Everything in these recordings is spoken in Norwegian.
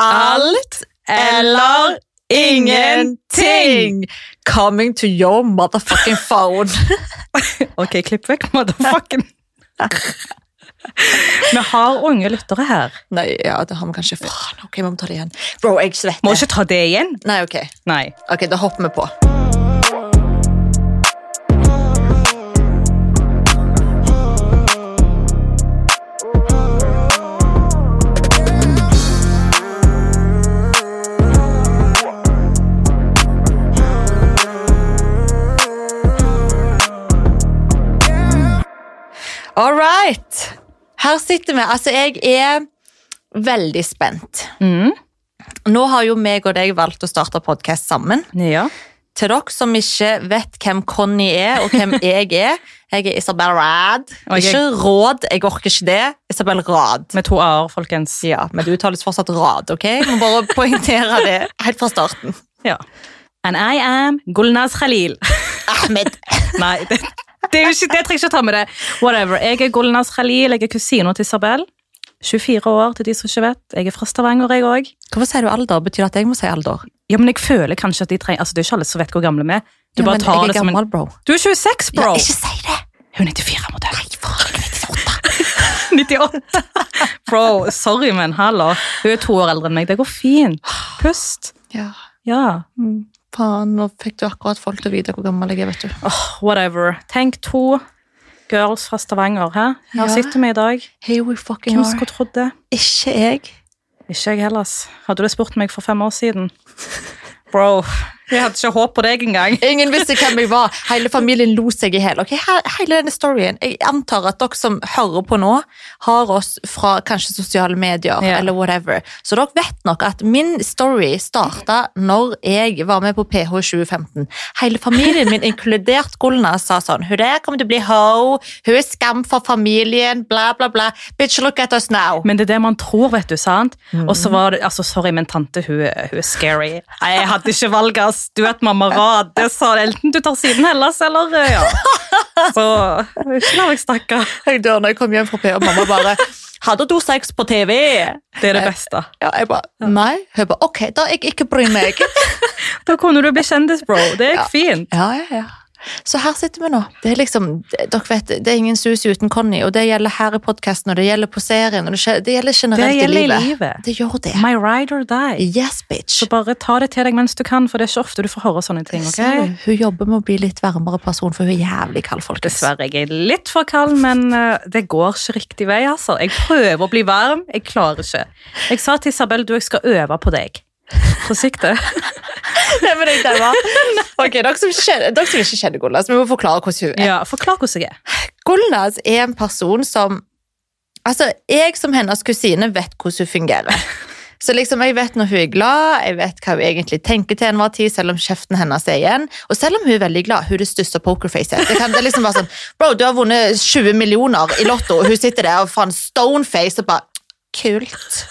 alt eller ingenting! Coming to your motherfucking phone. Ok, klipp vekk, motherfucken. Vi har unge lyttere her. Nei, ja, det har vi kanskje. Faen, ok, vi må ta det igjen. Bro, jeg Må svetter. ikke ta det igjen. Nei, ok. Nei. Ok, da hopper vi på. All right. Her sitter vi. Altså, jeg er veldig spent. Mm. Nå har jo meg og deg valgt å starte podkast sammen. Ja. Til dere som ikke vet hvem Conny er, og hvem jeg er. Jeg er Isabel Rad. Og jeg- Ikke Råd, jeg orker ikke det. Isabel Rad. Med to a-er, folkens. Ja, men det uttales fortsatt Rad, ok? Jeg må bare poengtere det helt fra starten. Ja. And I am Gulnaz Khalil. Ahmed. Nei, det, det, er jo ikke, det trenger jeg ikke å ta med det. Whatever. Jeg er Gulnaz Khalil, jeg er kusina til Isabel. 24 år, til de som ikke vet. Jeg er fra Stavanger, jeg òg. Hvorfor sier du alder? Betyr det at jeg må si alder? Ja, men jeg føler kanskje at de trenger Altså, det er ikke alle som vet hvor gamle vi er. Du bare tar jeg det er som en gammel, bro. Du er 26, bro! Ja, ikke si det! Hun er 94-modell. Nei, faen, jeg er 98. 98. Bro, sorry, men hallo. Hun er to år eldre enn meg. Det går fint. Pust. Ja, Ja. faen, nå fikk du akkurat folk til å vite hvor gammel jeg er, vet du. Åh, whatever. Tenk to girls fra Stavanger. Hæ? Her Ja. sitter vi i dag. Here we fucking Hvem are. skulle trodd det? Ikke jeg. Ikke jeg heller. ass. Hadde du spurt meg for fem år siden? Bro, jeg hadde ikke håp på deg engang. Ingen visste hvem jeg var. Hele familien lo seg i hjel. Ok, he- hele denne storyen. Jeg antar at dere som hører på nå, har oss fra kanskje sosiale medier Ja. eller whatever. Så dere vet nok at min story starta når jeg var med på PH 2015. Hele familien min, inkludert Gulna, sa sånn Hun der kommer til å bli ho. Hun er skam for familien. Bla, bla, bla. Bitch, look at us now. Men det er det man tror, vet du, sant? Og så var det, altså, sorry, men tante, hun, er- hun er scary. Nei, Jeg hadde ikke valg, ass. Du vet, mamma rad, det sa det. Enten du tar siden Hellas, eller eh, ja. Så, ikke la meg snakke. Jeg dør når jeg kom hjem fra PH, og mamma bare Hadde du sex på TV? Det er det beste. Ja, jeg bare Nei. Hun bare Ok, da jeg ikke bryr meg. Da kunne du bli kjendis, bro. Det gikk fint. Ja, ja, ja. Så her sitter vi nå. Det er liksom, dere vet, det er ingen Susi uten Conny, og det gjelder her i podkasten, og det gjelder på serien, og det, skje- det gjelder Det generelt gjelder i i livet. livet. Det gjør det. My ride or die. Yes, bitch. Så bare ta det til deg mens du kan, for det er ikke ofte du får høre sånne ting, Ser ok? du? Hun jobber med å bli litt varmere person, for hun er jævlig kald, folkens. Dessverre, jeg er litt for kald, men eh, det går ikke riktig vei, altså. Jeg prøver å bli varm, jeg klarer ikke. Jeg sa til Isabel, du, jeg skal øve på deg. På siktet. Nei, men jeg dæmmer. Ok, dere som, kjenner, dere som ikke kjenner Gullnas, vi må forklare hvordan hun er. Ja, forklar hvordan jeg er. Gullnas er en person som Altså, jeg som hennes kusine vet hvordan hun fungerer. Så liksom, Jeg vet når hun er glad, jeg vet hva hun egentlig tenker til enhver tid, selv om kjeften hennes er igjen. Og selv om hun er veldig glad, hun er det største pokerfacet. Det kan det er liksom være sånn, Bro, du har vunnet 20 millioner i Lotto, og hun sitter der og faen stoneface og bare Kult.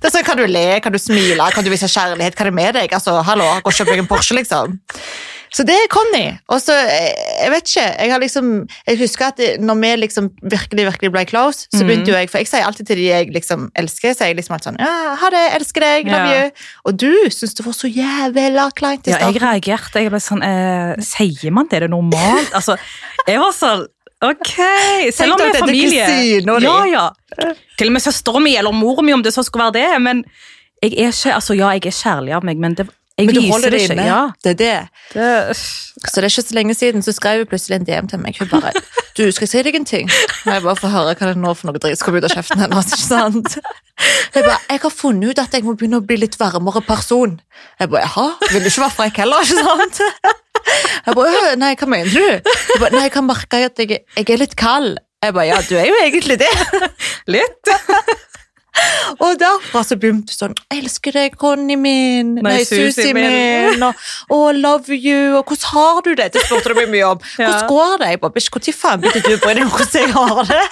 Det er sånn, Kan du le, kan du smile, kan du vise kjærlighet, hva er det med deg? Altså, hallo, Gå og kjøp deg en Porsche, liksom. Så det er Conny. Og så, eh, jeg vet ikke, jeg har liksom, jeg husker at det- når vi liksom virkelig, virkelig ble close, så Mm. begynte jo jeg, for jeg sier alltid til de jeg liksom elsker, så er jeg liksom alt sånn, ja, ha det, elsker deg, love Ja. you. Og du synes det var så jævla kleint i Ja, jeg starten. reagerte. Jeg ble sånn eh, Sier man det? Er det normalt? Altså, jeg var sånn Ok! Selv om vi Tenk deg er at det er familie. kusina di. Ja, ja. Til og med søstera mi eller mora mi, om det så skulle være det. Men jeg er ikke Altså, ja, jeg er kjærlig av meg, men det, jeg Men du holder viser det det ikke. inne. Ja. Det er det. Det, Så det er ikke så lenge siden, så skrev hun plutselig en DM til meg. Hun bare, du, skal jeg si deg en ting? Og jeg bare får høre hva det er nå for noe dritt som kommer ut av kjeften hennes, ikke sant? Jeg bare, jeg har funnet ut at jeg må begynne å bli litt varmere person. Jeg bare, jaha, vil du ikke være frekk heller, ikke sant? Jeg bare, «Øh, nei, hva mener du? Jeg bare, nei, jeg kan merke at jeg, jeg er litt kald. Jeg bare, ja, du er jo egentlig det. litt. Og derfra så begynte sånn Elsker deg, Conny min. Nei, Susi, min. Og «Å, love you. Og hvordan har du det? Det spurte du meg mye om. Ja. Hvordan går det? Jeg bare, Bitch, når faen begynte du å bry deg om hvordan jeg har det?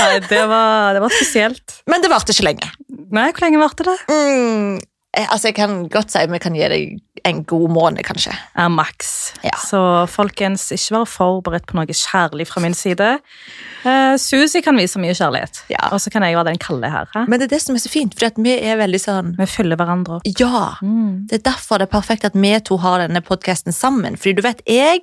Nei, det var, det var spesielt. Men det varte ikke lenge. Nei, hvor lenge varte det? Mm, eh, altså jeg kan godt si vi kan gi deg en god måned, kanskje. er maks. Ja. Så folkens, ikke vær forberedt på noe kjærlig fra min side. Eh, Susi kan vise mye kjærlighet, Ja. og så kan jeg være den kalde her. hæ? Men det er det som er så fint, for vi er veldig sånn Vi fyller hverandre opp. Ja! Mm. Det er derfor det er perfekt at vi to har denne podkasten sammen. Fordi du vet, jeg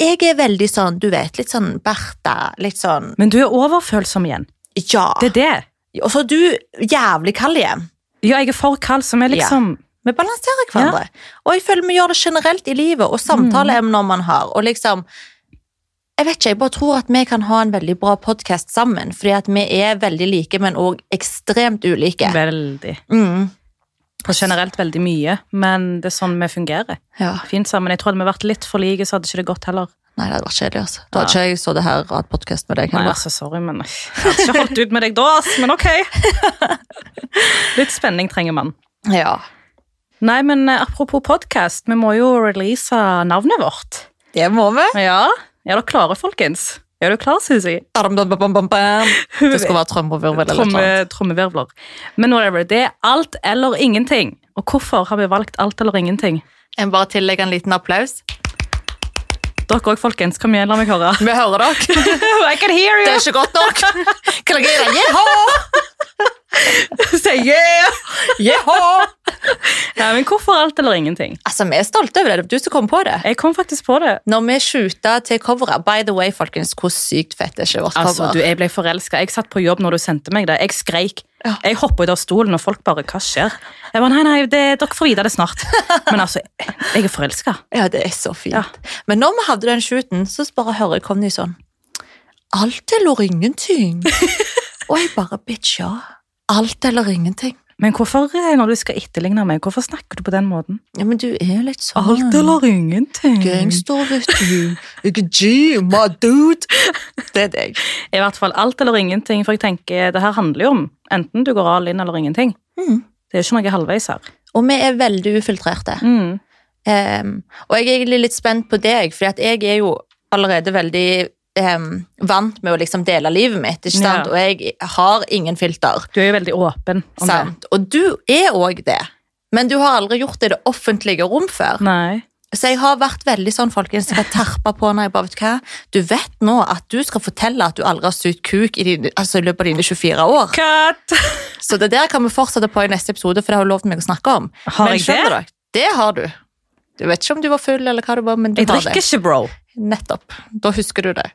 jeg er veldig sånn, du vet, litt sånn Bertha, litt sånn Men du er overfølsom igjen. Ja. Det er det. Og så er du jævlig kald igjen. Ja, jeg er for kald, så vi liksom Vi balanserer hverandre. Og jeg føler vi gjør det generelt i livet, og samtaleemner man har. Og liksom Jeg vet ikke, jeg bare tror at vi kan ha en veldig bra podkast sammen. Fordi at vi er veldig like, men òg ekstremt ulike. Veldig. Mm. Og generelt veldig mye, men det er sånn vi fungerer. Ja. Fint sammen. Jeg tror hadde vi vært litt for like, så hadde ikke det gått heller. Nei, det hadde vært kjedelig, altså. Da hadde ikke jeg sittet her og hatt podkast med deg. Nei, heller. altså, sorry, men jeg hadde ikke holdt ut med deg da, ass, men ok. Litt spenning trenger man. Ja. Nei, men eh, apropos podcast, vi må jo release navnet vårt. Det må vi. Ja, er dere klare, folkens? Er du klar, Susi? Det skal være trommevirvel eller noe. Tromme, trommevirvler. Men whatever, det er alt eller ingenting. Og hvorfor har vi valgt alt eller ingenting? Jeg må bare tillegge en liten applaus. Dere òg, folkens. Kom igjen, la meg høre. Vi hører dere. I can hear Det er you! ikke godt nok. Kan dere gjøre jeha? Say yeah! Jeha? Nei, men hvorfor alt eller ingenting? Altså, vi er stolte over det. Det var du som kom på det. Jeg kom faktisk på det. Når vi shoota til coveret By the way, folkens, hvor sykt fett er ikke vårt Altså, du, cover? Jeg ble forelska. Jeg satt på jobb når du sendte meg det. Jeg skreik. Ja. Jeg hoppa ut av stolen, og folk bare Hva skjer? Jeg bare, nei, nei, det, Dere får vite det snart. Men altså, jeg er forelska. Ja, det er så fint. Ja. Men når vi hadde den shooten, så bare hører jeg Conny sånn Alt eller ingenting. Og jeg bare bitch, ja. Alt eller ingenting. Men hvorfor, eh, når du skal etterligne meg, hvorfor snakker du på den måten? Ja, men du er litt sånn ingenting. Gangster, vet du. Ikke G, my dude. Det er deg. I hvert fall alt eller ingenting, for jeg tenker det her handler jo om enten du går all in eller ingenting. Mm. Det er jo ikke noe halvveis her. Og vi er veldig ufiltrerte. Mm. Em, og jeg er egentlig litt spent på deg, for jeg er jo allerede veldig em, vant med å liksom dele livet mitt, ikke Ja. sant? Og jeg har ingen filter, Du er jo veldig åpen om sant? Og du er òg det. Men du har aldri gjort det i det offentlige rom før. det. Nei. Så jeg har vært veldig sånn, folkens, skal terpe på når jeg bare, vet du hva? Du vet nå at du skal fortelle at du aldri har sugd kuk i, dine, altså, i løpet av dine 24 år. Cut! Så det der kan vi fortsette på i neste episode, for det har du lovt meg å snakke om. Har men jeg det? skjønner dere, det har du. Du vet ikke om du var full, eller hva du var, men du Jeg har drikker det. ikke, bro. Nettopp. Da husker du det.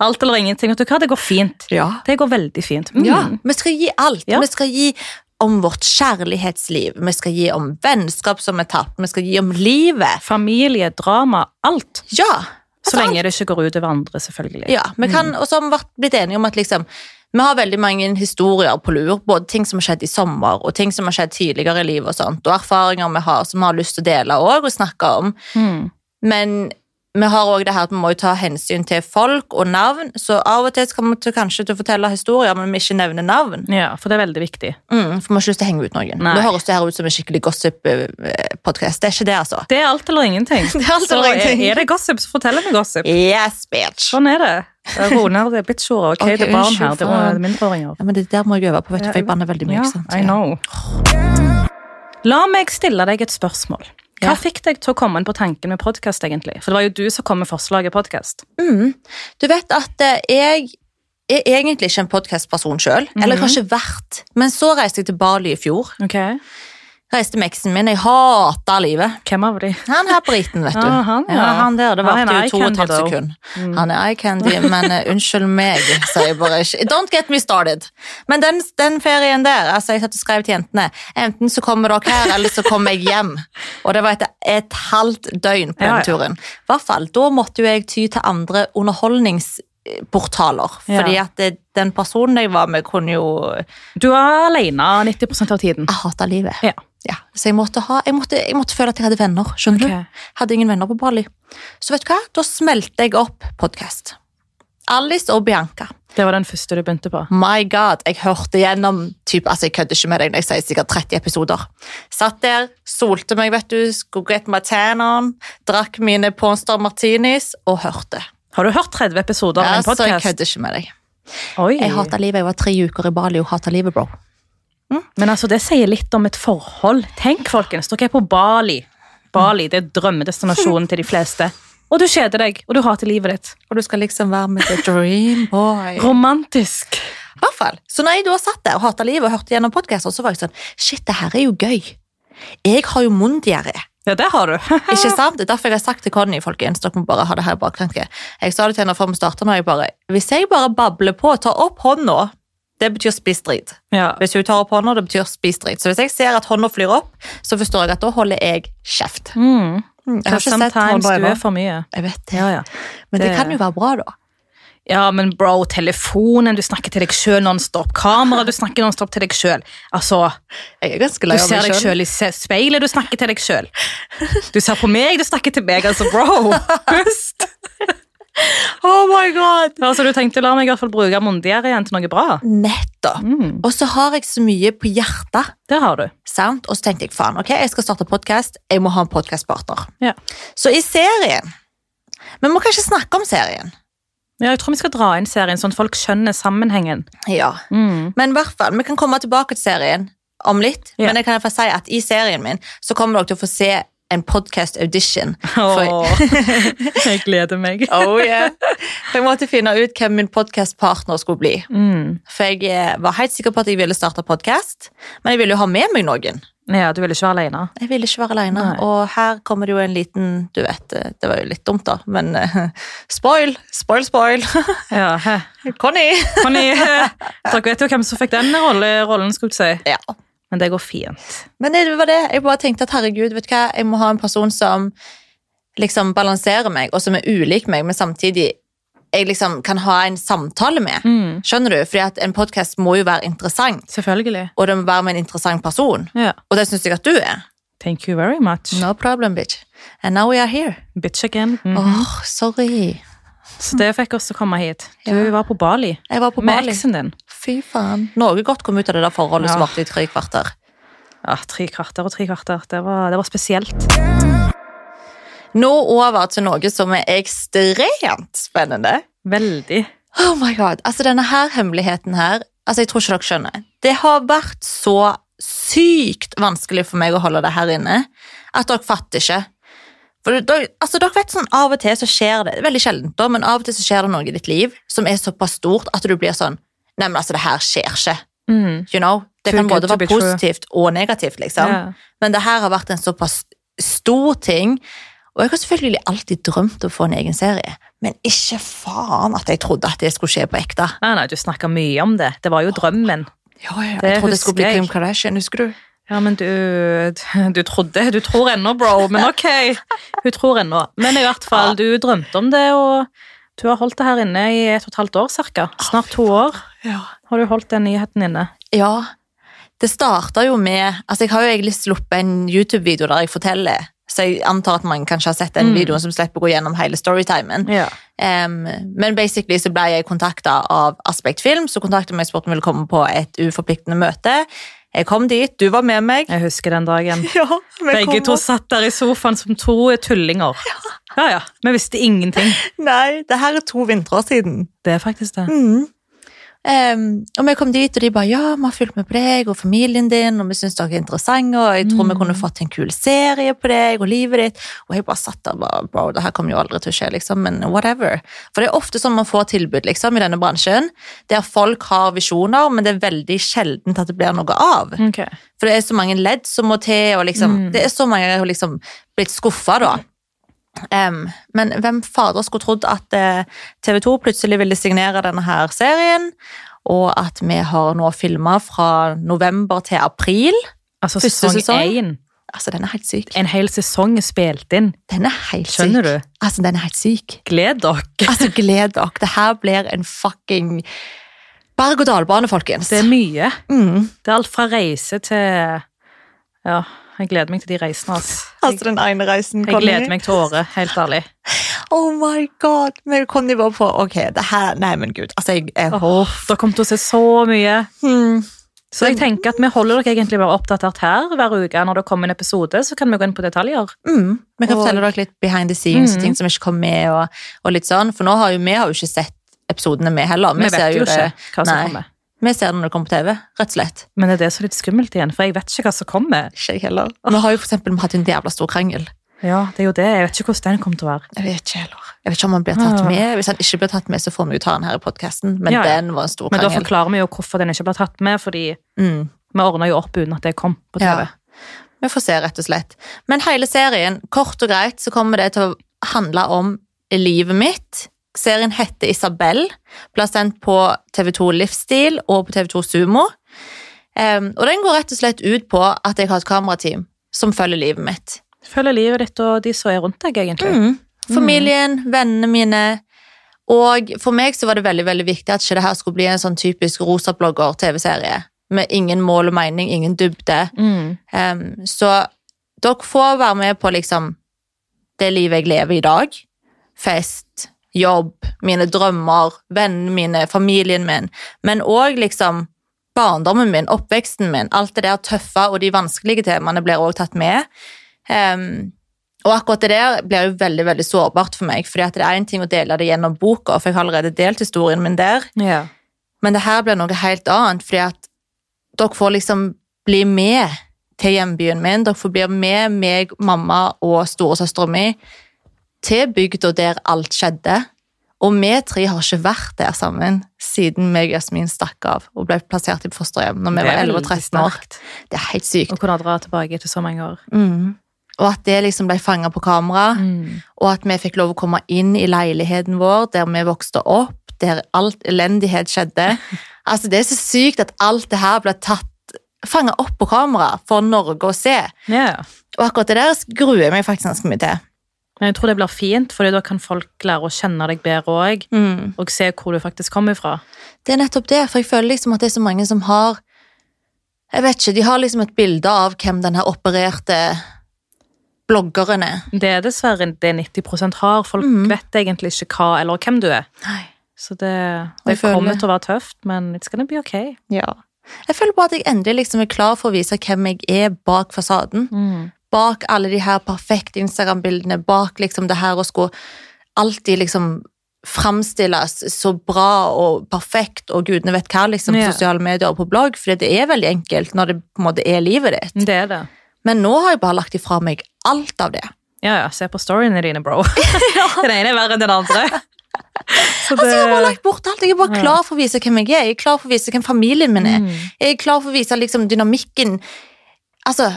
Alt eller ingenting. Vet du hva, det går fint. Ja. Det går veldig fint. Mm. Vi skal gi alt. Ja. Vi skal gi om vårt kjærlighetsliv, vi skal gi om vennskap som er tapt, vi skal gi om livet. Familie, drama, alt. Ja. Mm. Så Altså, lenge det ikke går ut over andre, selvfølgelig. Ja, vi kan, og så har vi vært- blitt enige om at liksom, vi har veldig mange historier på lur, både ting som har skjedd i sommer, og ting som har skjedd tidligere i livet, og sånt, og erfaringer vi har som vi har lyst til å dele også, og snakke om. Mm. Men vi har også det her at vi må jo ta hensyn til folk og navn, så av og til skal vi til, kanskje til å fortelle historier, men vi ikke nevner navn. ja, for det er veldig viktig. Mm, for vi har ikke lyst til å henge ut noen. Nei. Det høres det her ut som en skikkelig gossip-podkast. Det er ikke det, altså. Det er alt eller ingenting. Det er alt så eller ingenting. Er, er det gossip, så fortell meg gossip. Yes, bitch! Sånn er det. Roner, det er bitch-ordet. Ok, Ok, det er barn unnskyld, her. Det faen. er mindreåringer. Ja, men det der må jeg øve på, vet du, for jeg banner veldig mye, Ja, ikke sant? I know. La meg stille deg et spørsmål. Hva Ja. fikk deg til å komme inn på tanken med podkast, egentlig? For det var jo du som kom med forslaget podkast. Mm. Du vet at eh, jeg er egentlig ikke en podkastperson sjøl, eller jeg Mhm. har ikke vært. Men så reiste jeg til Bali i fjor. Okay. Reiste med eksen min. Jeg hata livet. Hvem av de? Han her briten, vet du. Ja, han, ja. han der. Det Han er en varte jo eye to og et halvt candy, Mm. though. sekund. Han er eye candy, men eh, unnskyld meg, sier jeg bare ikke. Don't get me started. Men den, den ferien der, altså jeg satt og skrev til jentene, enten så kommer dere her, eller så kommer jeg hjem. Og det var et, et halvt døgn på Ja, den ja. turen. I hvert fall, da måtte jo jeg ty til andre underholdningsportaler, Ja. fordi at eh, den personen jeg var med kunne jo eh, Du er alene 90 av tiden. Jeg hata livet. Ja. Ja, så jeg måtte, ha, jeg, måtte, jeg måtte føle at jeg hadde venner. skjønner Ok. du? Hadde ingen venner på Bali. Så vet du hva? Da smelte jeg opp podkast. Alice og Bianca. Det var den første du begynte på. My God, jeg hørte gjennom typ, altså Jeg kødder ikke med deg når jeg sier sikkert 30 episoder. Satt der, solte meg, vet du, skulle get my tan on, drakk mine Ponster Martinis og hørte. Har du hørt 30 episoder av Ja, en så jeg podkast? kødder ikke med deg. Oi. Jeg hata livet. Jeg var tre uker i Bali og hata livet, bro. Men altså, det sier litt om et forhold. Tenk, folkens, dere er på Bali. Bali det er drømmedestinasjonen til de fleste. Og du kjeder deg, og du hater livet ditt. Og du skal liksom være med the dream boy. Romantisk. I hvert fall. Så når jeg da satt der og hata livet og hørte gjennom podkaster, så var jeg sånn Shit, det her er jo gøy. Jeg har jo munndiaré. Ja, det har du. Ikke sant? Det er derfor jeg har sagt til Conny folkens, dere må bare ha det her i baktanken. Jeg sa det til henne før vi starta, når jeg bare Hvis jeg bare babler på og tar opp hånda, det betyr spis drit. Ja. Hvis hun tar opp hånda, det betyr spis drit. Så hvis jeg ser at hånda flyr opp, så forstår jeg at da holder jeg kjeft. Mm. Jeg har ikke sett Sometimes hånda du ennå. er for mye. Jeg vet det. Ja, ja. Men det det- kan jo være bra, da. ja, men bro, telefonen, du snakker til deg sjøl nonstop. Kamera, du snakker nonstop til deg sjøl. Altså, Jeg er ganske du lei av ser meg deg sjøl. sjøl i se- speilet, du snakker til deg sjøl. Du ser på meg, du snakker til meg. Altså, bro, pust! Oh my god! Altså, du tenkte la meg i hvert fall bruke mundigere igjen til noe bra. Nettopp. Mm. Og så har jeg så mye på hjertet. Det har du. Sant? Og så tenkte jeg faen, ok, jeg skal starte podkast. Jeg må ha en podkastpartner. Ja. Så i serien Vi må kanskje snakke om serien. Ja, jeg tror vi skal dra inn serien, sånn at folk skjønner sammenhengen. Ja. Mm. Men i hvert fall, vi kan komme tilbake til serien om litt. Ja. Men jeg kan i hvert fall si at i serien min så kommer dere til å få se en podcast audition. For, Åh, jeg gleder meg. oh, yeah. for jeg måtte finne ut hvem min podcastpartner skulle bli. Mm. For jeg eh, var helt sikker på at jeg ville starte podcast, men jeg ville jo ha med meg noen. Ja, du vil ikke være alene. Jeg ville ikke være alene, Nei. og her kommer det jo en liten Du vet, eh, det var jo litt dumt, da, men eh, spoil! Spoil, spoil! Ja, hæ. Conny! Conny, dere vet jo hvem som fikk den rolle, rollen, skulle jeg si. Ja. Men det går fint. Men det var det. Jeg bare tenkte at herregud, vet du hva, jeg må ha en person som liksom balanserer meg, og som er ulik meg, men samtidig jeg liksom kan ha en samtale med. Mm. Skjønner du? Fordi at en podkast må jo være interessant, Selvfølgelig. og det må være med en interessant person. Ja. Og det syns jeg at du er. Thank you very much. No problem, bitch. And now we are here. Bitch again. Mm. Åh, sorry. Så det fikk oss til å komme hit. Du Ja. var på Bali Jeg var på med Bali. eksen din. Fy faen. Norge godt kom ut av det der forholdet som Ja. varte i tre kvarter. Ja, tre kvarter og tre kvarter. Det var, det var spesielt. Nå over til noe som er ekstremt spennende. Veldig. Oh my god, altså Denne her hemmeligheten her altså Jeg tror ikke dere skjønner. Det har vært så sykt vanskelig for meg å holde det her inne at dere fatter ikke. For dere, altså dere vet sånn, Av og til så skjer det veldig sjeldent da, men av og til så skjer det noe i ditt liv som er såpass stort at du blir sånn Nei, men altså, det her skjer ikke. Mm. You know? Det Too kan good både to be være true. positivt og negativt. liksom. Ja. Men det her har vært en såpass stor ting. Og jeg har selvfølgelig alltid drømt om å få en egen serie, men ikke faen at jeg trodde at det skulle skje på ekte. Nei, nei, du snakka mye om det. Det var jo drømmen. Ja, ja, jeg Det trodde det husker skulle bli jeg. Kim Kardashian, husker du? Ja, men du, du trodde Du tror ennå, bro, men ok. Hun tror ennå. Men i hvert fall, du drømte om det, og du har holdt det her inne i et og et halvt år cirka. Snart to år Ja. har du holdt den nyheten inne. ja. Det starta jo med Altså, jeg har jo egentlig sluppet en YouTube-video der jeg forteller, så jeg antar at man kanskje har sett den Mm. videoen som slipper å gå gjennom hele storytimen. Ja. Em, men basically så ble jeg kontakta av Aspekt Film, som kontakta meg og spurte om jeg ville komme på et uforpliktende møte. Jeg kom dit, du var med meg. Jeg husker den dagen. Ja, vi Begge kom to oss- satt der i sofaen som to tullinger. Ja, ja. Vi visste ingenting. Nei, det her er to vintre siden. Det er faktisk det. Em, og vi kom dit, og de bare ja, vi har fulgt med på deg og familien din, og vi syns dere er interessante, og jeg tror vi kunne fått en kul serie på deg og livet ditt. Og jeg bare satt der og bare bro, det her kommer jo aldri til å skje, liksom, men whatever. For det er ofte sånn man får tilbud liksom, i denne bransjen, der folk har visjoner, men det er veldig sjeldent at det blir noe av. Mm. Ok. For det er så mange ledd som må til, og liksom, Mm. det er så mange jeg har liksom blitt skuffa da. Em, men hvem fader skulle trodd at eh, TV 2 plutselig ville signere denne her serien, og at vi har nå filma fra november til april? Altså Første sesong sesong? én. Altså, den er helt syk. En hel sesong er spilt inn. Den er helt syk. Skjønner du? Altså, den er helt syk. Gled dere. Altså, gled dere. Det her blir en fucking berg-og-dal-bane, folkens. Det er mye. Mm. Det er alt fra reise til Ja, jeg gleder meg til de reisene. ass. Altså, den ene reisen Jeg gleder meg til året, helt ærlig. Oh my god! Men Conny var på Ok, det her Nei, men gud. Altså, jeg, jeg Åh, Mm. Dere kommer til å se så mye. hmm. Så jeg tenker at vi holder dere egentlig bare oppdatert her hver uke. Når det kommer en episode, så kan vi gå inn på detaljer. mm. Vi kan Og- fortelle dere litt behind the scenes, Mm. ting som ikke kom med, og, og litt sånn. For nå har jo vi har jo ikke sett episodene, vi heller. Vi vet jo ikke hva som nei. kommer. Vi ser det når det kommer på TV, rett og slett. Men er det så litt skummelt igjen? For jeg vet ikke hva som kommer. Ikke jeg heller. Vi har jo for eksempel vi hadde en jævla stor krangel. Ja, det er jo det. Jeg vet ikke hvordan den kommer til å være. Jeg vet ikke heller. Ah. Jeg vet ikke om han blir tatt Ja. med. Hvis han ikke blir tatt med, så får vi jo ta han her i podkasten. Men Ja, ja. den var en stor Men da krangel. forklarer vi jo hvorfor den ikke ble tatt med, fordi Mm. vi ordna jo opp uten at det kom på TV. Ja. Vi får se, rett og slett. Men hele serien, kort og greit, så kommer det til å handle om livet mitt. Serien heter Isabel, ble sendt på TV2 Livsstil og på TV2 Sumo. Em, og den går rett og slett ut på at jeg har et kamerateam som følger livet mitt. Følger livet ditt og de som er rundt deg, egentlig. Familien, vennene mine. Og for meg så var det veldig veldig viktig at ikke det her skulle bli en sånn typisk rosablogger-TV-serie. Med ingen mål og mening, ingen dybde. Mm. Ehm, så dere får være med på liksom det livet jeg lever i dag. Fest, jobb, mine drømmer, vennene mine, familien min. Men òg liksom barndommen min, oppveksten min. Alt det der tøffe og de vanskelige temaene blir òg tatt med. Ehm, og akkurat det der blir jo veldig veldig sårbart for meg, fordi at det er en ting å dele det gjennom boka, for jeg har allerede delt historien min der. Ja. Men det her blir noe helt annet, fordi at dere får liksom bli med til hjembyen min. Dere får bli med meg, mamma og storesøstera mi til bygda der alt skjedde. Og vi tre har ikke vært der sammen siden meg og Jasmin stakk av og ble plassert i fosterhjem når vi Det er var 11 og veldig 13 år. sterkt Det er helt sykt. Å kunne dra tilbake etter så mange år. Mm. Og at det liksom ble fanga på kamera. Og at vi fikk lov å komme inn i leiligheten vår, der vi vokste opp, der alt elendighet skjedde. Altså, det er så sykt at alt det her ble tatt fanga opp på kamera for Norge å se. Ja. Og akkurat det der gruer jeg meg faktisk ganske mye til. Men jeg tror det blir fint, for da kan folk lære å kjenne deg bedre òg. Mm. Og se hvor du faktisk kommer fra. Det er nettopp det, for jeg føler liksom at det er så mange som har Jeg vet ikke, de har liksom et bilde av hvem den her opererte bloggeren er. Det er dessverre det 90 har. Folk Mhm. vet egentlig ikke hva eller hvem du er. Nei. Så det, Og jeg det kommer føler- til å være tøft, men it's gonna be ok. Ja. Jeg føler bare at jeg endelig liksom er klar for å vise hvem jeg er bak fasaden. Bak alle de her perfekte Instagram-bildene, bak liksom det her å skulle alltid liksom framstilles så bra og perfekt og gudene vet hva, liksom, på Ja. sosiale medier og på blogg, for det er veldig enkelt når det på en måte er livet ditt. Det er det. Men nå har jeg bare lagt ifra meg alt av det. Ja, ja, se på storyene dine, bro. Den ene er verre enn den andre. Så Altså, jeg har bare lagt det, bort alt. Jeg er bare Ja. klar for å vise hvem jeg er. Jeg er klar for å vise hvem familien min er. Mm. Jeg er klar for å vise liksom, dynamikken Altså,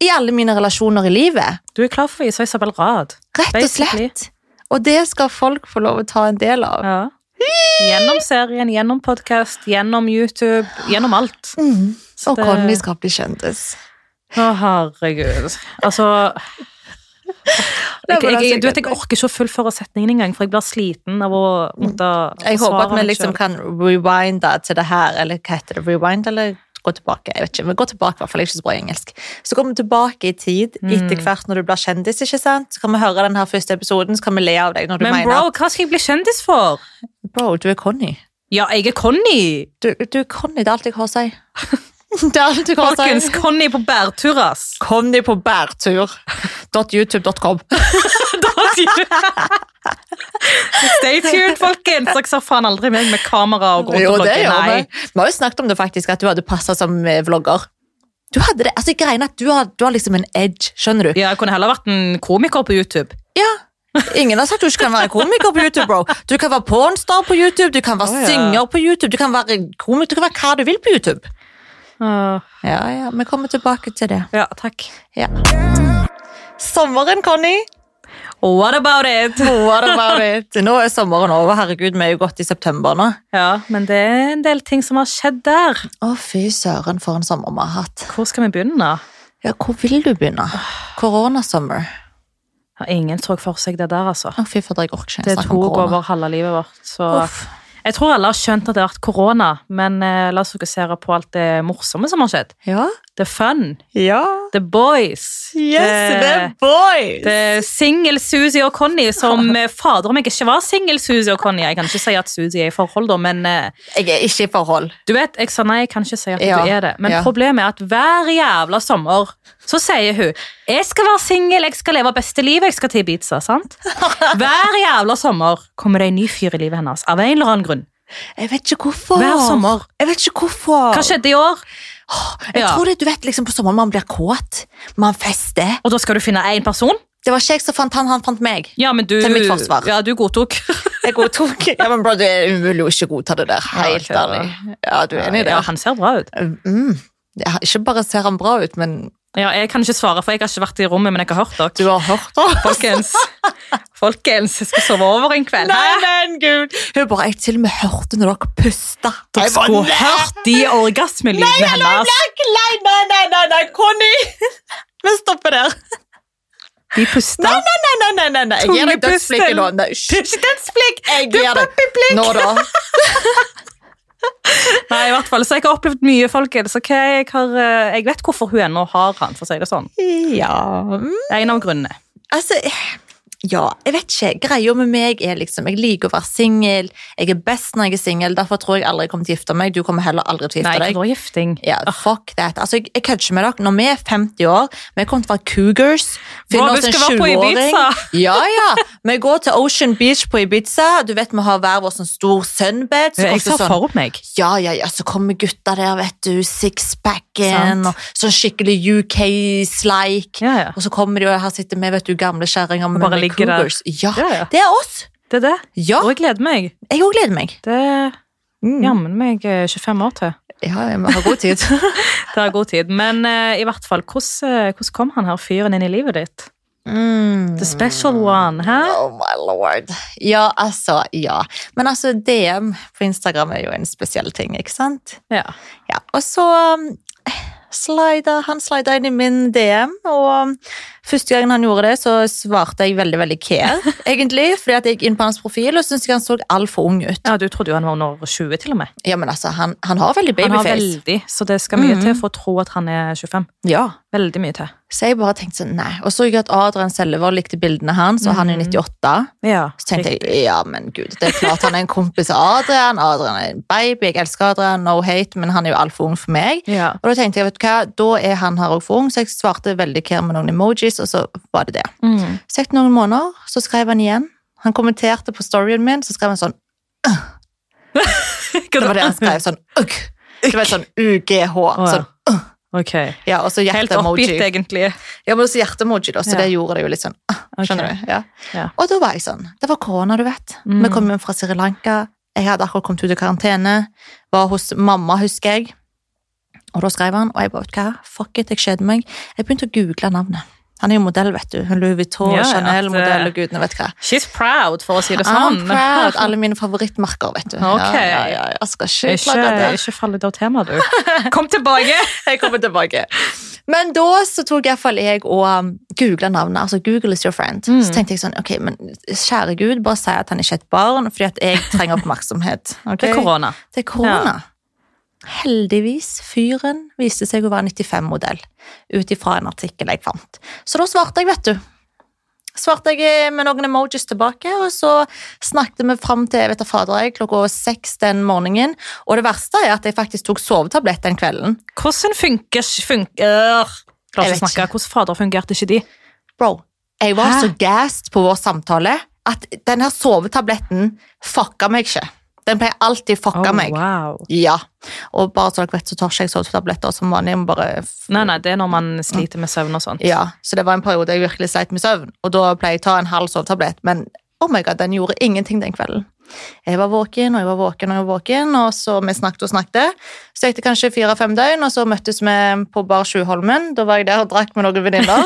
i alle mine relasjoner i livet. du er klar for å vise Isabel Rad. Rett og Basically. slett. Og det skal folk få lov å ta en del av. Ja. Gjennom serien, gjennom podkast, gjennom YouTube, gjennom alt. Mm. Så Og det- Conny skal bli kjendis. Å, herregud. Altså Det jeg, var jeg, det jeg, du vet, jeg sikkert. orker ikke å fullføre setningen engang, for jeg blir sliten av å måtte Jeg håper at vi meg liksom selv. kan rewinde til det her, eller hva heter det? Rewind, eller gå tilbake? Jeg vet ikke, men gå tilbake, i hvert fall. Jeg er ikke så bra i engelsk. Så går vi tilbake i tid, Mm. etter hvert når du blir kjendis, ikke sant? Så kan vi høre den her første episoden, så kan vi le av deg når du Men mener bro, at hva skal jeg bli kjendis for? Bro, du er Conny. Ja, jeg er Conny! Du, du er Conny, det er alt jeg har å si. Det er alt jeg har å Folkens, si. Conny på bærtur, ass! Conny på bærtur. .youtube.com. Stay tuned, folkens! Dere ser faen aldri meg med kamera og gå rundt Jo, og det blogge. gjør vi. Nei. Vi har jo snakket om det faktisk, at du hadde passet som eh, vlogger. Du hadde det, altså greien er at du har, du har liksom en edge, skjønner du? Ja, jeg kunne heller vært en komiker på YouTube. Ja. Ingen har sagt du ikke kan være komiker på YouTube, bro. Du kan være pornstar på YouTube, du kan være Å, ja. synger på YouTube, du kan være komiker, du kan være hva du vil på YouTube. Ja, ja, vi kommer tilbake til det. ja, takk. Ja. Sommeren, Conny. What about it? What about it? Nå er sommeren over, herregud, vi er jo godt i september nå. Ja, men det er en del ting som har skjedd der. Å fy søren, for en sommer vi har hatt. Hvor skal vi begynne? Ja, hvor vil du begynne? Koronasummer. Ja, Ingen så for seg det der, altså. Å fy fader, jeg orker ikke Det engang snakke om tok korona. over halve livet vårt. Så Uff. jeg tror alle har skjønt at det har vært korona, men eh, la oss fokusere på alt det morsomme som har skjedd. Ja. The fun, Ja. the boys. Yes, det er boys! det er single Suzy og Conny, som eh, fader om jeg ikke var single Suzy og Conny. Jeg kan ikke si at Suzy er i forhold, da, men eh, Jeg er ikke i forhold. Du vet, jeg sa nei, jeg kan ikke si at Ja, du er det. Men ja. problemet er at hver jævla sommer så sier hun jeg skal være singel, jeg skal leve beste livet, jeg skal til Ibiza. sant? Hver jævla sommer kommer det en ny fyr i livet hennes. av en eller annen grunn. Jeg vet ikke hvorfor. Hver sommer. Jeg vet ikke hvorfor. Hva skjedde i år? Jeg Ja. tror det, du vet liksom På sommeren man blir kåt, man fester. Og da skal du finne én person? Det var ikke jeg som fant han, han fant meg. Ja, men du, Til mitt forsvar. Ja, du godtok. Jeg godtok. Ja, men bro, Det er umulig å ikke godta det der. Helt Ja, ok, da. ærlig. Ja, du er enig i det? Ja, han ser bra ut. Mm. Ja, ikke bare ser han bra ut, men Ja, jeg kan ikke svare, for jeg har ikke vært i rommet, men jeg har hørt dere. du har hørt det. Folkens, folkens, jeg skal sove over en kveld. Nei, Hæ? men gud! Hun bare, jeg til og med hørte når dere pusta. Dere skulle hørt de orgasmelydene hennes. Nei, nei, nei, nei, nei, Conny! Vi stopper der. De puster. Nei, nei, nei, nei, nei, nei, nei. Jeg gir deg Tungepusten. dødsblikket nå. Nei, Det hysj. er ikke dødsblikk! Jeg Det er gir deg. Nå da. Nei, i hvert fall, så jeg har opplevd mye, folkens. ok? jeg, har, eh, jeg vet hvorfor hun ennå har han, for å si det sånn. Ja. Det er En av grunnene. Altså, ja, jeg vet ikke. Greia med meg er liksom, jeg liker å være singel. Jeg er best når jeg er singel, derfor tror jeg aldri jeg kommer til å gifte meg. Du kommer heller aldri til å Nei, gifte deg. det var gifting. Ja, fuck that. Altså, jeg, jeg kødder ikke med dere. Når vi er 50 år, vi kommer til å være cougars. Bra, Finne vi oss en skal være på 20-åring. Ibiza. Ja, ja. Vi går til Ocean Beach på Ibiza. Du vet, vi har hver vår sånn stor sunbed. Så Jeg kommer ser det sånn, for meg. ja, ja, ja, så kommer gutta der, vet du. Sixpacken Sant. og sånn skikkelig UK-slike. Ja, ja. Og så kommer de, og her sitter vi, vet du, gamle kjerringer med, bare med ligger der. cougars. Ja, Ja, ja. det er oss. Det er det. Ja, Mm. Og jeg gleder meg. jeg òg gleder meg. Det er jammen meg eh, 25 år til. Ja, ja, vi har god tid. Det er god tid. Men eh, i hvert fall, hvordan, eh, hvordan kom han her fyren inn i livet ditt? mm. The special one, hæ? Oh my lord. Ja, altså, ja. Men altså, DM på Instagram er jo en spesiell ting, ikke sant? Ja. Ja, og så um, slider, han slida inn i min DM, og um, første gangen han gjorde det, så svarte jeg veldig, veldig care, egentlig, fordi at jeg gikk inn på hans profil og syntes ikke han så altfor ung ut. ja, du trodde jo han var under 20 til og med. Ja, men altså, han, han har veldig Han har babyface. veldig, så det skal mye Mhm. til for å tro at han er 25. Ja. Veldig mye til. Så jeg bare tenkte sånn, nei. Og så jeg at Adrian Sellevold likte bildene hans, og han er Mhm. 98. Ja, Så tenkte jeg, ja, men gud, det er klart han er en kompis av Adrian. Adrian er en baby, jeg elsker Adrian, no hate, men han er jo altfor ung for meg. Ja. Og da tenkte jeg, vet du hva, da er han her også for ung, så jeg svarte veldig care med noen emojis, og så var det det. Mm. Så etter noen måneder, så skrev han igjen. Han kommenterte på storyen min, så skrev han sånn, det var det han skrev, sånn, ugg. Det var sånn UGH, ja. sånn, Ok. ja, og så Helt oppgitt, hjerte-emoji. egentlig. Ja, men også hjerte-emoji, da, så Ja. det gjorde det jo litt sånn, Ok. Skjønner du? Ja. Ja. Og da var jeg sånn. Det var korona, du vet. Mm. Vi kom hjem fra Sri Lanka. Jeg hadde akkurat kommet ut i karantene. Var hos mamma, husker jeg. Og da skrev han, og jeg bare, vet du hva, fuck it, jeg kjeder meg. Jeg begynte å google navnet. Han er jo modell, vet du. Louis Vuitton, Ja, ja, Chanel, at, modell eh, og gudene vet hva. She's proud, for å si det sånn. I'm proud. Alle mine favorittmerker, vet du. Ja, Ok. Ja, ja, jeg skal ikke Ikke, klage der. ikke fall ut av temaet, du. Kom tilbake! Jeg kommer tilbake. Men da så tok iallfall jeg og um, googla navnet. altså Google is your friend. Mm. Så tenkte jeg sånn, ok, men kjære Gud, bare si at han ikke er et barn, fordi at jeg trenger oppmerksomhet. ok? Det er korona. Det er korona. Heldigvis, fyren viste seg å være 95-modell, ut ifra en artikkel jeg fant. Så da svarte jeg, vet du. Svarte jeg med noen emojis tilbake, og så snakket vi fram til jeg vet da fader jeg, klokka seks den morgenen. Og det verste er at jeg faktisk tok sovetabletter den kvelden. Hvordan funker funker? Klarer Jeg ikke vet å snakke. Hvordan fader fungerte ikke de? Bro, jeg var Hæ? så gassed på vår samtale at den her sovetabletten fucka meg ikke. Den pleier alltid fucka Oh, meg. wow. Ja. Og bare så dere vet, så tar ikke jeg sovetabletter som vanlig. jeg må Bare f- Nei, nei, det er når man sliter med søvn og sånn. sånt. ja. Så det var en periode jeg virkelig sleit med søvn, og da pleier jeg å ta en halv sovetablett, men oh my god, den gjorde ingenting den kvelden. Jeg var våken, og jeg var våken, og jeg var våken, og så vi snakket og snakket. Så gikk det kanskje fire-fem døgn, og så møttes vi på Bar Sjuholmen. Da var jeg der og drakk med noen venninner.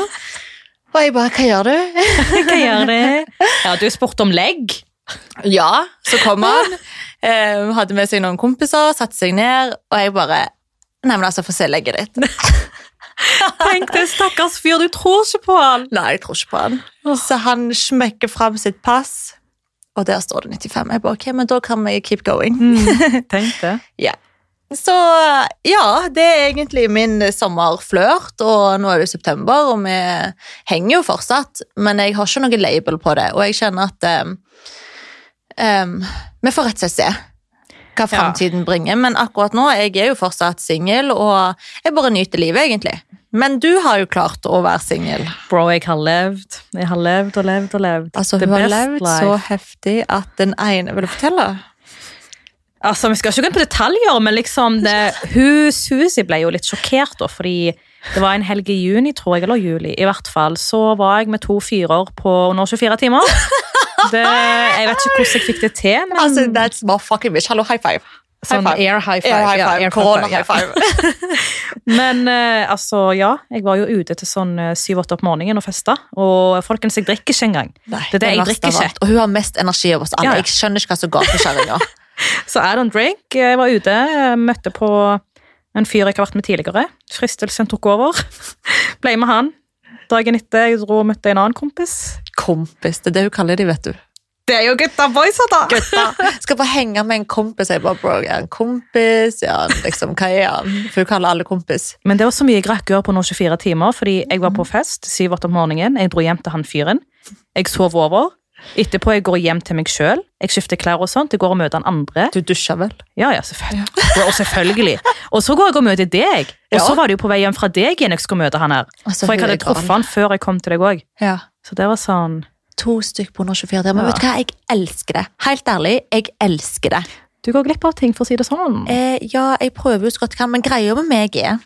Og jeg bare, hva gjør du? Hva gjør det? Ja, du spurte om legg. Ja, så kom han. Eh, hadde med seg noen kompiser, satte seg ned, og jeg bare Nei, men altså, få se legget ditt. Tenk det, stakkars fyr, du tror ikke på han. Nei, jeg tror ikke på han. Så han smekker fram sitt pass, og der står det 95. Jeg bare, ok, men da kan vi keep going. Tenk det. Ja. Så ja, det er egentlig min sommerflørt, og nå er det september, og vi henger jo fortsatt, men jeg har ikke noe label på det, og jeg kjenner at eh, em, Vi får rett og slett se hva Ja. framtiden bringer, men akkurat nå jeg er jo fortsatt singel, og jeg bare nyter livet, egentlig. Men du har jo klart å være singel. Bro, jeg har levd. Jeg har levd og levd og levd. Altså, The hun har best levd life. så heftig at den ene Vil du fortelle? Altså, Vi skal ikke gå inn på detaljer, men liksom det, hun Susi ble jo litt sjokkert, da, fordi det var en helg i juni, tror jeg, eller juli. I hvert fall så var jeg med to fyrer på under 24 timer. Det, jeg vet ikke hvordan jeg fikk det til, men Altså, that's my fucking bitch. Hallo, high five. sånn high five. air high five. Air high ja, five. air Corona ja. high five. Men eh, altså, ja. Jeg var jo ute til sånn eh, syv-åtte opp morgenen og festa. Og folkens, jeg drikker ikke engang. Nei, det er det jeg verste drikker av ikke. alt. Og hun har mest energi av oss alle. Ja, ja. Jeg skjønner ikke hva som går på kjerringa. Så I don't drink. Jeg var ute, møtte på en fyr jeg ikke har vært med tidligere. Fristelsen tok over. Ble med han. Dagen etter jeg dro og møtte en annen kompis. Kompis. Det er det hun kaller de, vet du. Det er jo gutta boysa, da! Gutta. Skal bare henge med en kompis. Jeg bare, bro, er han kompis? Ja, liksom, hva er han? For hun kaller alle kompis. Men det var så mye jeg rakk å gjøre på nå 24 timer, fordi jeg var på fest syv-åtte om morgenen. Jeg dro hjem til han fyren. Jeg sov over. Etterpå jeg går hjem til meg sjøl. Jeg skifter klær og sånt. Jeg går og møter han andre. Du dusjer vel? Ja, ja, selvfølgelig. Og selvfølgelig. Og så går jeg og møter deg. Og Ja. så var det jo på vei hjem fra deg igjen jeg skulle møte han her. Altså, For jeg hun hadde er gal. truffet han før jeg kom til deg òg. Ja. Så det var sånn To stykk på 124 timer. Men Ja. vet du hva, jeg elsker det. Helt ærlig, jeg elsker det. Du går glipp av ting, for å si det sånn. Eh, ja, jeg prøver jo så godt jeg kan, men greia med meg er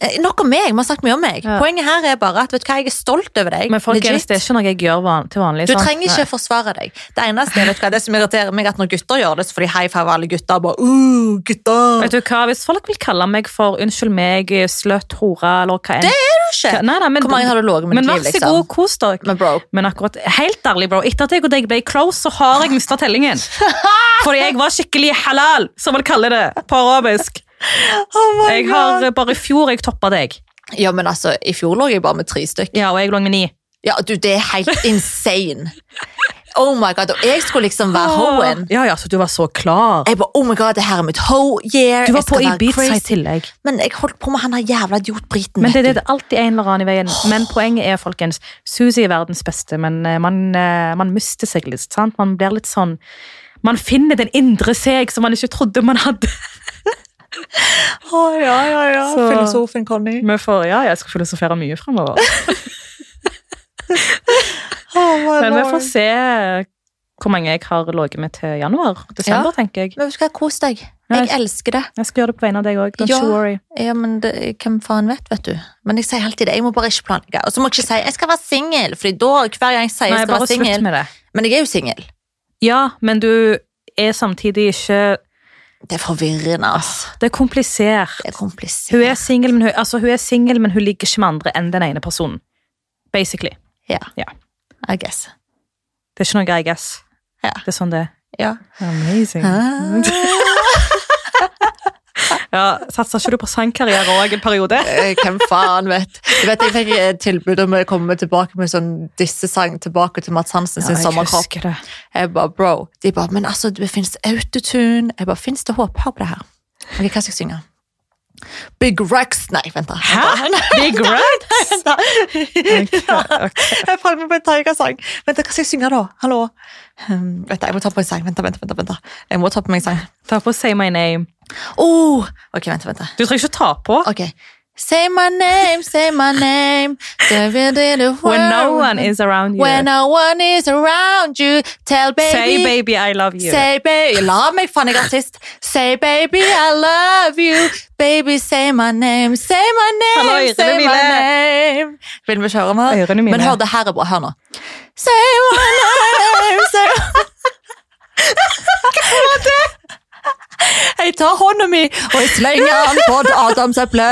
eh, Nok om meg, vi har sagt mye om meg. Ja. Poenget her er bare at vet du hva, jeg er stolt over deg. Men folkens, Legit. det er ikke noe jeg gjør van til vanlig. Du sant? trenger ikke Sånn. Nei. forsvare deg. Det eneste vet du hva, det som irriterer meg, er at når gutter gjør det, så får de high five alle gutter. og bare, uh, gutter. Vet du hva, Hvis folk vil kalle meg for 'unnskyld meg', slutt, hore eller hva enn Ikke. Nei, nei, men, Hvor mange har du ligget med i men ditt vær liv, så liksom? god, kos dere. Men bro, Men akkurat, helt ærlig, bro, etter at jeg og deg ble close, så har jeg mista tellingen. Fordi jeg var skikkelig halal, som man kaller det på arabisk. Oh Jeg har eh, bare i fjor jeg toppa deg. Ja, men altså, i fjor lå jeg bare med tre stykk. Ja, og jeg lå med ni. Ja, du, det er helt insane. Oh my god, og jeg skulle liksom være hoen. Ja, ja, så du var så klar. Jeg bare, oh my god, det her er mitt hoe year. Du var Jeg skal på være Ibiza i crazy. tillegg. Men jeg holdt på med han her jævla idiotbriten. Men det, vet det du. er alltid en eller annen i veien. Men poenget er, folkens, Susi er verdens beste, men eh, man, eh, man mister seg litt, sant? Man blir litt sånn Man finner den indre seg som man ikke trodde man hadde. Å, ja, ja, ja. Så- Filosofen Conny. Men for, ja, jeg skal filosofere mye fremover. Oh my Men vi lord. får se hvor mange jeg har ligget med til januar. Desember, tenker jeg. Men vet du hva, kos deg. Jeg elsker det. Jeg skal gjøre det på vegne av deg òg. Don't Ja. you worry. Ja, men det, hvem faen vet, vet du. Men jeg sier alltid det. Jeg må bare ikke planlegge. Og så må jeg ikke si 'jeg skal være singel', Fordi da, hver gang jeg sier Nei, jeg skal bare være slutt singel med det. Men jeg er jo singel. Ja, men du er samtidig ikke Det er forvirrende, ass. Det er komplisert. Det er komplisert. Ah, Hun er singel, men, hun- altså, hun er single, men hun ligger ikke med andre enn den ene personen. Basically. Ja. Ja. I guess. Det er ikke noe I guess. Ja. Det er sånn det er. Ja. Amazing. Ah. Ja, Satser ikke du på sangkarriere òg en periode? Eh, Hvem faen vet. Du vet, Jeg fikk eh, tilbud om å komme tilbake med sånn dissesang tilbake til Mads Hansen sin sommerkropp. det. Jeg bare, bro. De bare, men altså, det finnes autotune. Jeg bare, finnes det håp? Hør på det her. Ok, hva skal jeg synge? Big Rex. Nei, vent da. Hæ? Big Rex? Vent da. Jeg falt meg på en tigersang. Vent, da, hva skal jeg synge da? Hallo? Um, vent, da, jeg må ta på en sang. Vent, da, vent, da, vent, da, vent. da. Jeg må ta på meg en sang. Ta på Say My Name. Oh! Ok, vent, da, vent. da. Du trenger ikke ta på. Ok. Say my name, say my name. Da, da, da, da, When no one is around you. When no one is around you, tell baby. Say baby I love you. Say baby. La meg, faen, jeg er artist. Say baby, I love you. Baby, say my name, say my name, Hallo, ørene say my mine. name. Vil vi kjøre med? Ørene mine. Men hør, det her er bra. Hør nå. Say my name, say my name. Jeg tar hånda mi og jeg slenger den på et adamseple.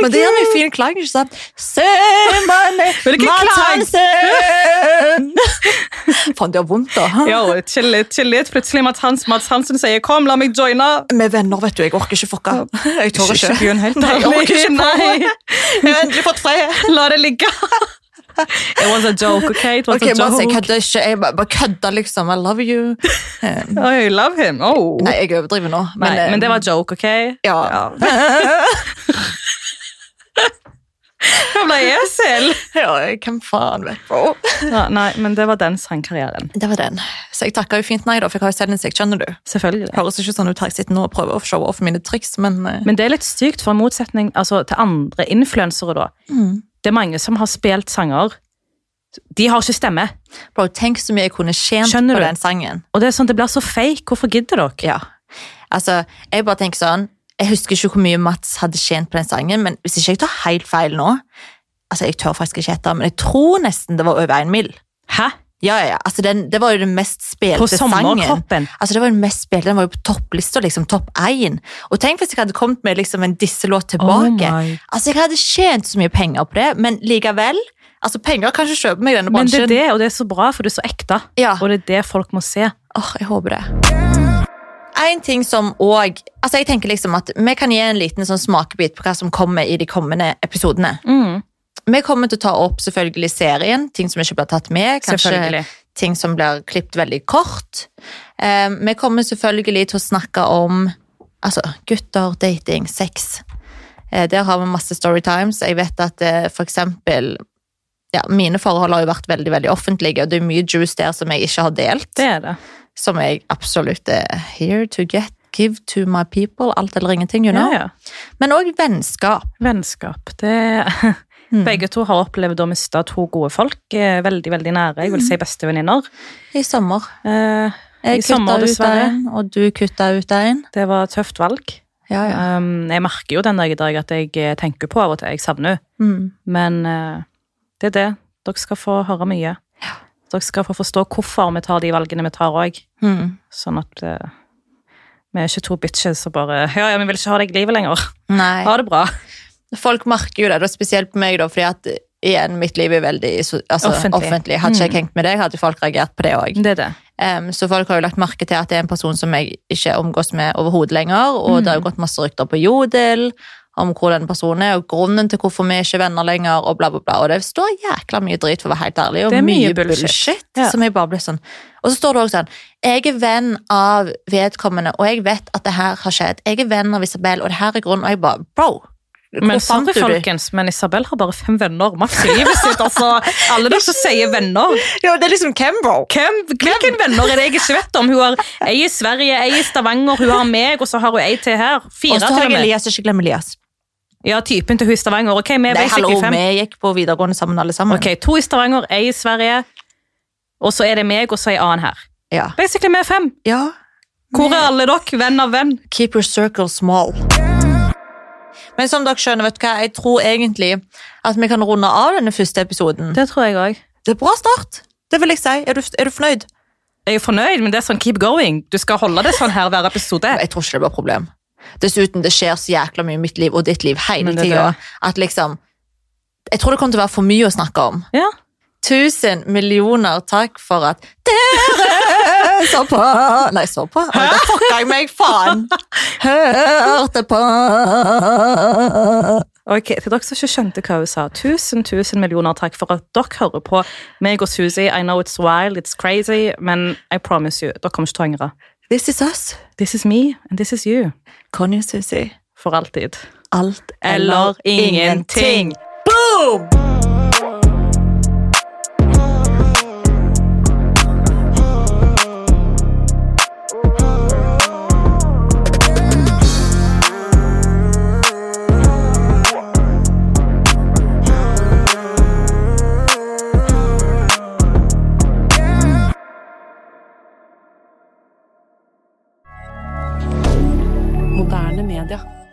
Men det gjør meg fin klang, ikke sant? Se meg ned, Hvilken Mads klang? Hansen! Faen, det gjør vondt, da. Yo, chill litt, chill litt. Plutselig Mads Hans, Mats Hansen sier 'kom, la meg joine'. Med venner, vet du. Jeg orker ikke fucka. Jeg tør ikke. begynn helt Nei, jeg orker ikke ærlig. Jeg Nei, har endelig fått fred. la det ligge. It was a joke, okay? It was Ok, a Mads, jeg joke. kødder ikke. Jeg bare bare kødder, liksom. I love you. I love him. Oh. Nei, jeg overdriver nå. Nei, men, eh, det var joke, ok? Ja. Jeg ble esel. Ja, jeg- hvem faen vet, bro. Ja, nei, men det var den sangkarrieren. Det var den. Så jeg takka jo fint nei, da, for jeg har jo selvinnsikt, skjønner du. Selvfølgelig. Høres ikke sånn ut her jeg sitter nå og prøver å showe off mine triks, men eh, Men det er litt sykt, for i Mm. motsetning altså, til andre influensere, da. Det er mange som har spilt sanger De har ikke stemme. Bro, tenk så mye jeg kunne tjent Skjønner på du? den sangen. Og det er sånn, det blir så fake. Hvorfor gidder dere? Ja. Altså, jeg bare tenker sånn Jeg husker ikke hvor mye Mats hadde tjent på den sangen, men hvis ikke jeg tar helt feil nå Altså, jeg tør faktisk ikke etter, men jeg tror nesten det var over en mil. Hæ? Ja, ja, ja. Altså, den, det var jo den mest På spilte sangen. sommerkroppen? Altså, det var Den mest spilte, den var jo på topplista, liksom topp én. Og tenk hvis jeg hadde kommet med liksom, en disselåt Oh tilbake. my. altså, Jeg hadde tjent så mye penger på det, men likevel altså, Penger kan ikke kjøpe meg i denne Men det bransjen. er det, og det er så bra, for det er så ekte. Ja. Og det er det folk må se. Åh, jeg håper det. En ting som òg altså Jeg tenker liksom at vi kan gi en liten sånn smakebit på hva som kommer i de kommende episodene. Vi kommer til å ta opp selvfølgelig serien, ting som ikke blir tatt med. Kanskje Selvfølgelig. ting som blir klippet veldig kort. Eh, vi kommer selvfølgelig til å snakke om altså, gutter, dating, sex. Eh, der har vi masse storytimes. Jeg vet at eh, for eksempel ja, Mine forhold har jo vært veldig veldig offentlige, og det er mye juice der som jeg ikke har delt Det er det. som jeg absolutt er here to get, give to my people, alt eller ingenting, you know. Ja, ja. Men òg vennskap. Vennskap. Det Mm. Begge to har opplevd å miste to gode folk. eh, Veldig, veldig nære. Jeg vil Mm. si bestevenninner. I sommer. Eh, I Jeg kutta sommer, ut dessverre. en, og du kutta ut en. Det var et tøft valg. Ja, ja. Um, jeg merker jo den dag i dag at jeg eh, tenker på av og til. Jeg savner henne. Mm. Men eh, det er det. Dere skal få høre mye. Dere skal få forstå hvorfor vi tar de valgene vi tar òg. Mm. Sånn at eh, vi er ikke to bitches som bare Ja, ja, vi vil ikke ha deg i livet lenger. Nei. Ha det bra. Folk merker jo det, og spesielt på meg, da, fordi at igjen, mitt liv er veldig so- altså, Offentlig. Mm. offentlig. Hadde ikke jeg hengt med deg, hadde folk reagert på det òg. Det er det. Em, så folk har jo lagt merke til at det er en person som jeg ikke omgås med overhodet lenger, og det har jo Mm. gått masse rykter på Jodel om hvor den personen er, og grunnen til hvorfor vi er ikke venner lenger, og bla, bla, bla. Og det står jækla mye drit, for å være helt ærlig, og Det er mye, mye bullshit. bullshit. Ja. som jeg bare blir sånn. Og så står det også sånn, jeg er venn av vedkommende, og jeg vet at det her har skjedd. Jeg er venn av Isabel, og det her er grunnen, og jeg bare, bro, hvor Men fant sorry, du det? folkens, men Isabel har bare fem venner maks i livet sitt. Altså, alle dere som sier venner Ja, det er liksom hvem, bro? hvem, Hvilken venner er det jeg ikke vet om? Hun har ei i Sverige, ei i Stavanger, hun har meg, og så har hun ei til her. Og Fire så til har og jeg med. Elias, ikke glem Elias. Ja, typen til hun i Stavanger. Ok, vi er Nei, hallo, basically fem. vi gikk på videregående sammen alle sammen. Ok, To i Stavanger, ei i Sverige, og så er det meg, og så ei annen her. Ja. Basically, vi er fem. Ja. Hvor er alle dere? Venn av venn. Keep your circle small. Men som dere skjønner, vet du hva, jeg tror egentlig at vi kan runde av denne første episoden. Det tror jeg òg. Det er bra start. Det vil jeg si. Er du, er du fornøyd? Jeg er fornøyd, men det er sånn keep going. Du skal holde det sånn her hver episode. Jeg tror ikke det blir et problem. Dessuten, det skjer så jækla mye i mitt liv og ditt liv hele Men det er tida det. at liksom Jeg tror det kommer til å være for mye å snakke om. Ja. Tusen millioner takk for at dere så på Nei, så på? Oi, Da fucka jeg meg, faen! Hørte på Ok, Til dere som ikke skjønte hva hun sa, tusen tusen millioner takk for at dere hører på meg og Susi. I know it's wild, it's crazy, men I promise you, dere kommer ikke til å angre. This is us. This is me, and this is you. Conny og Susi. For alltid. Alt Eller ingenting. Boom! Moderne media.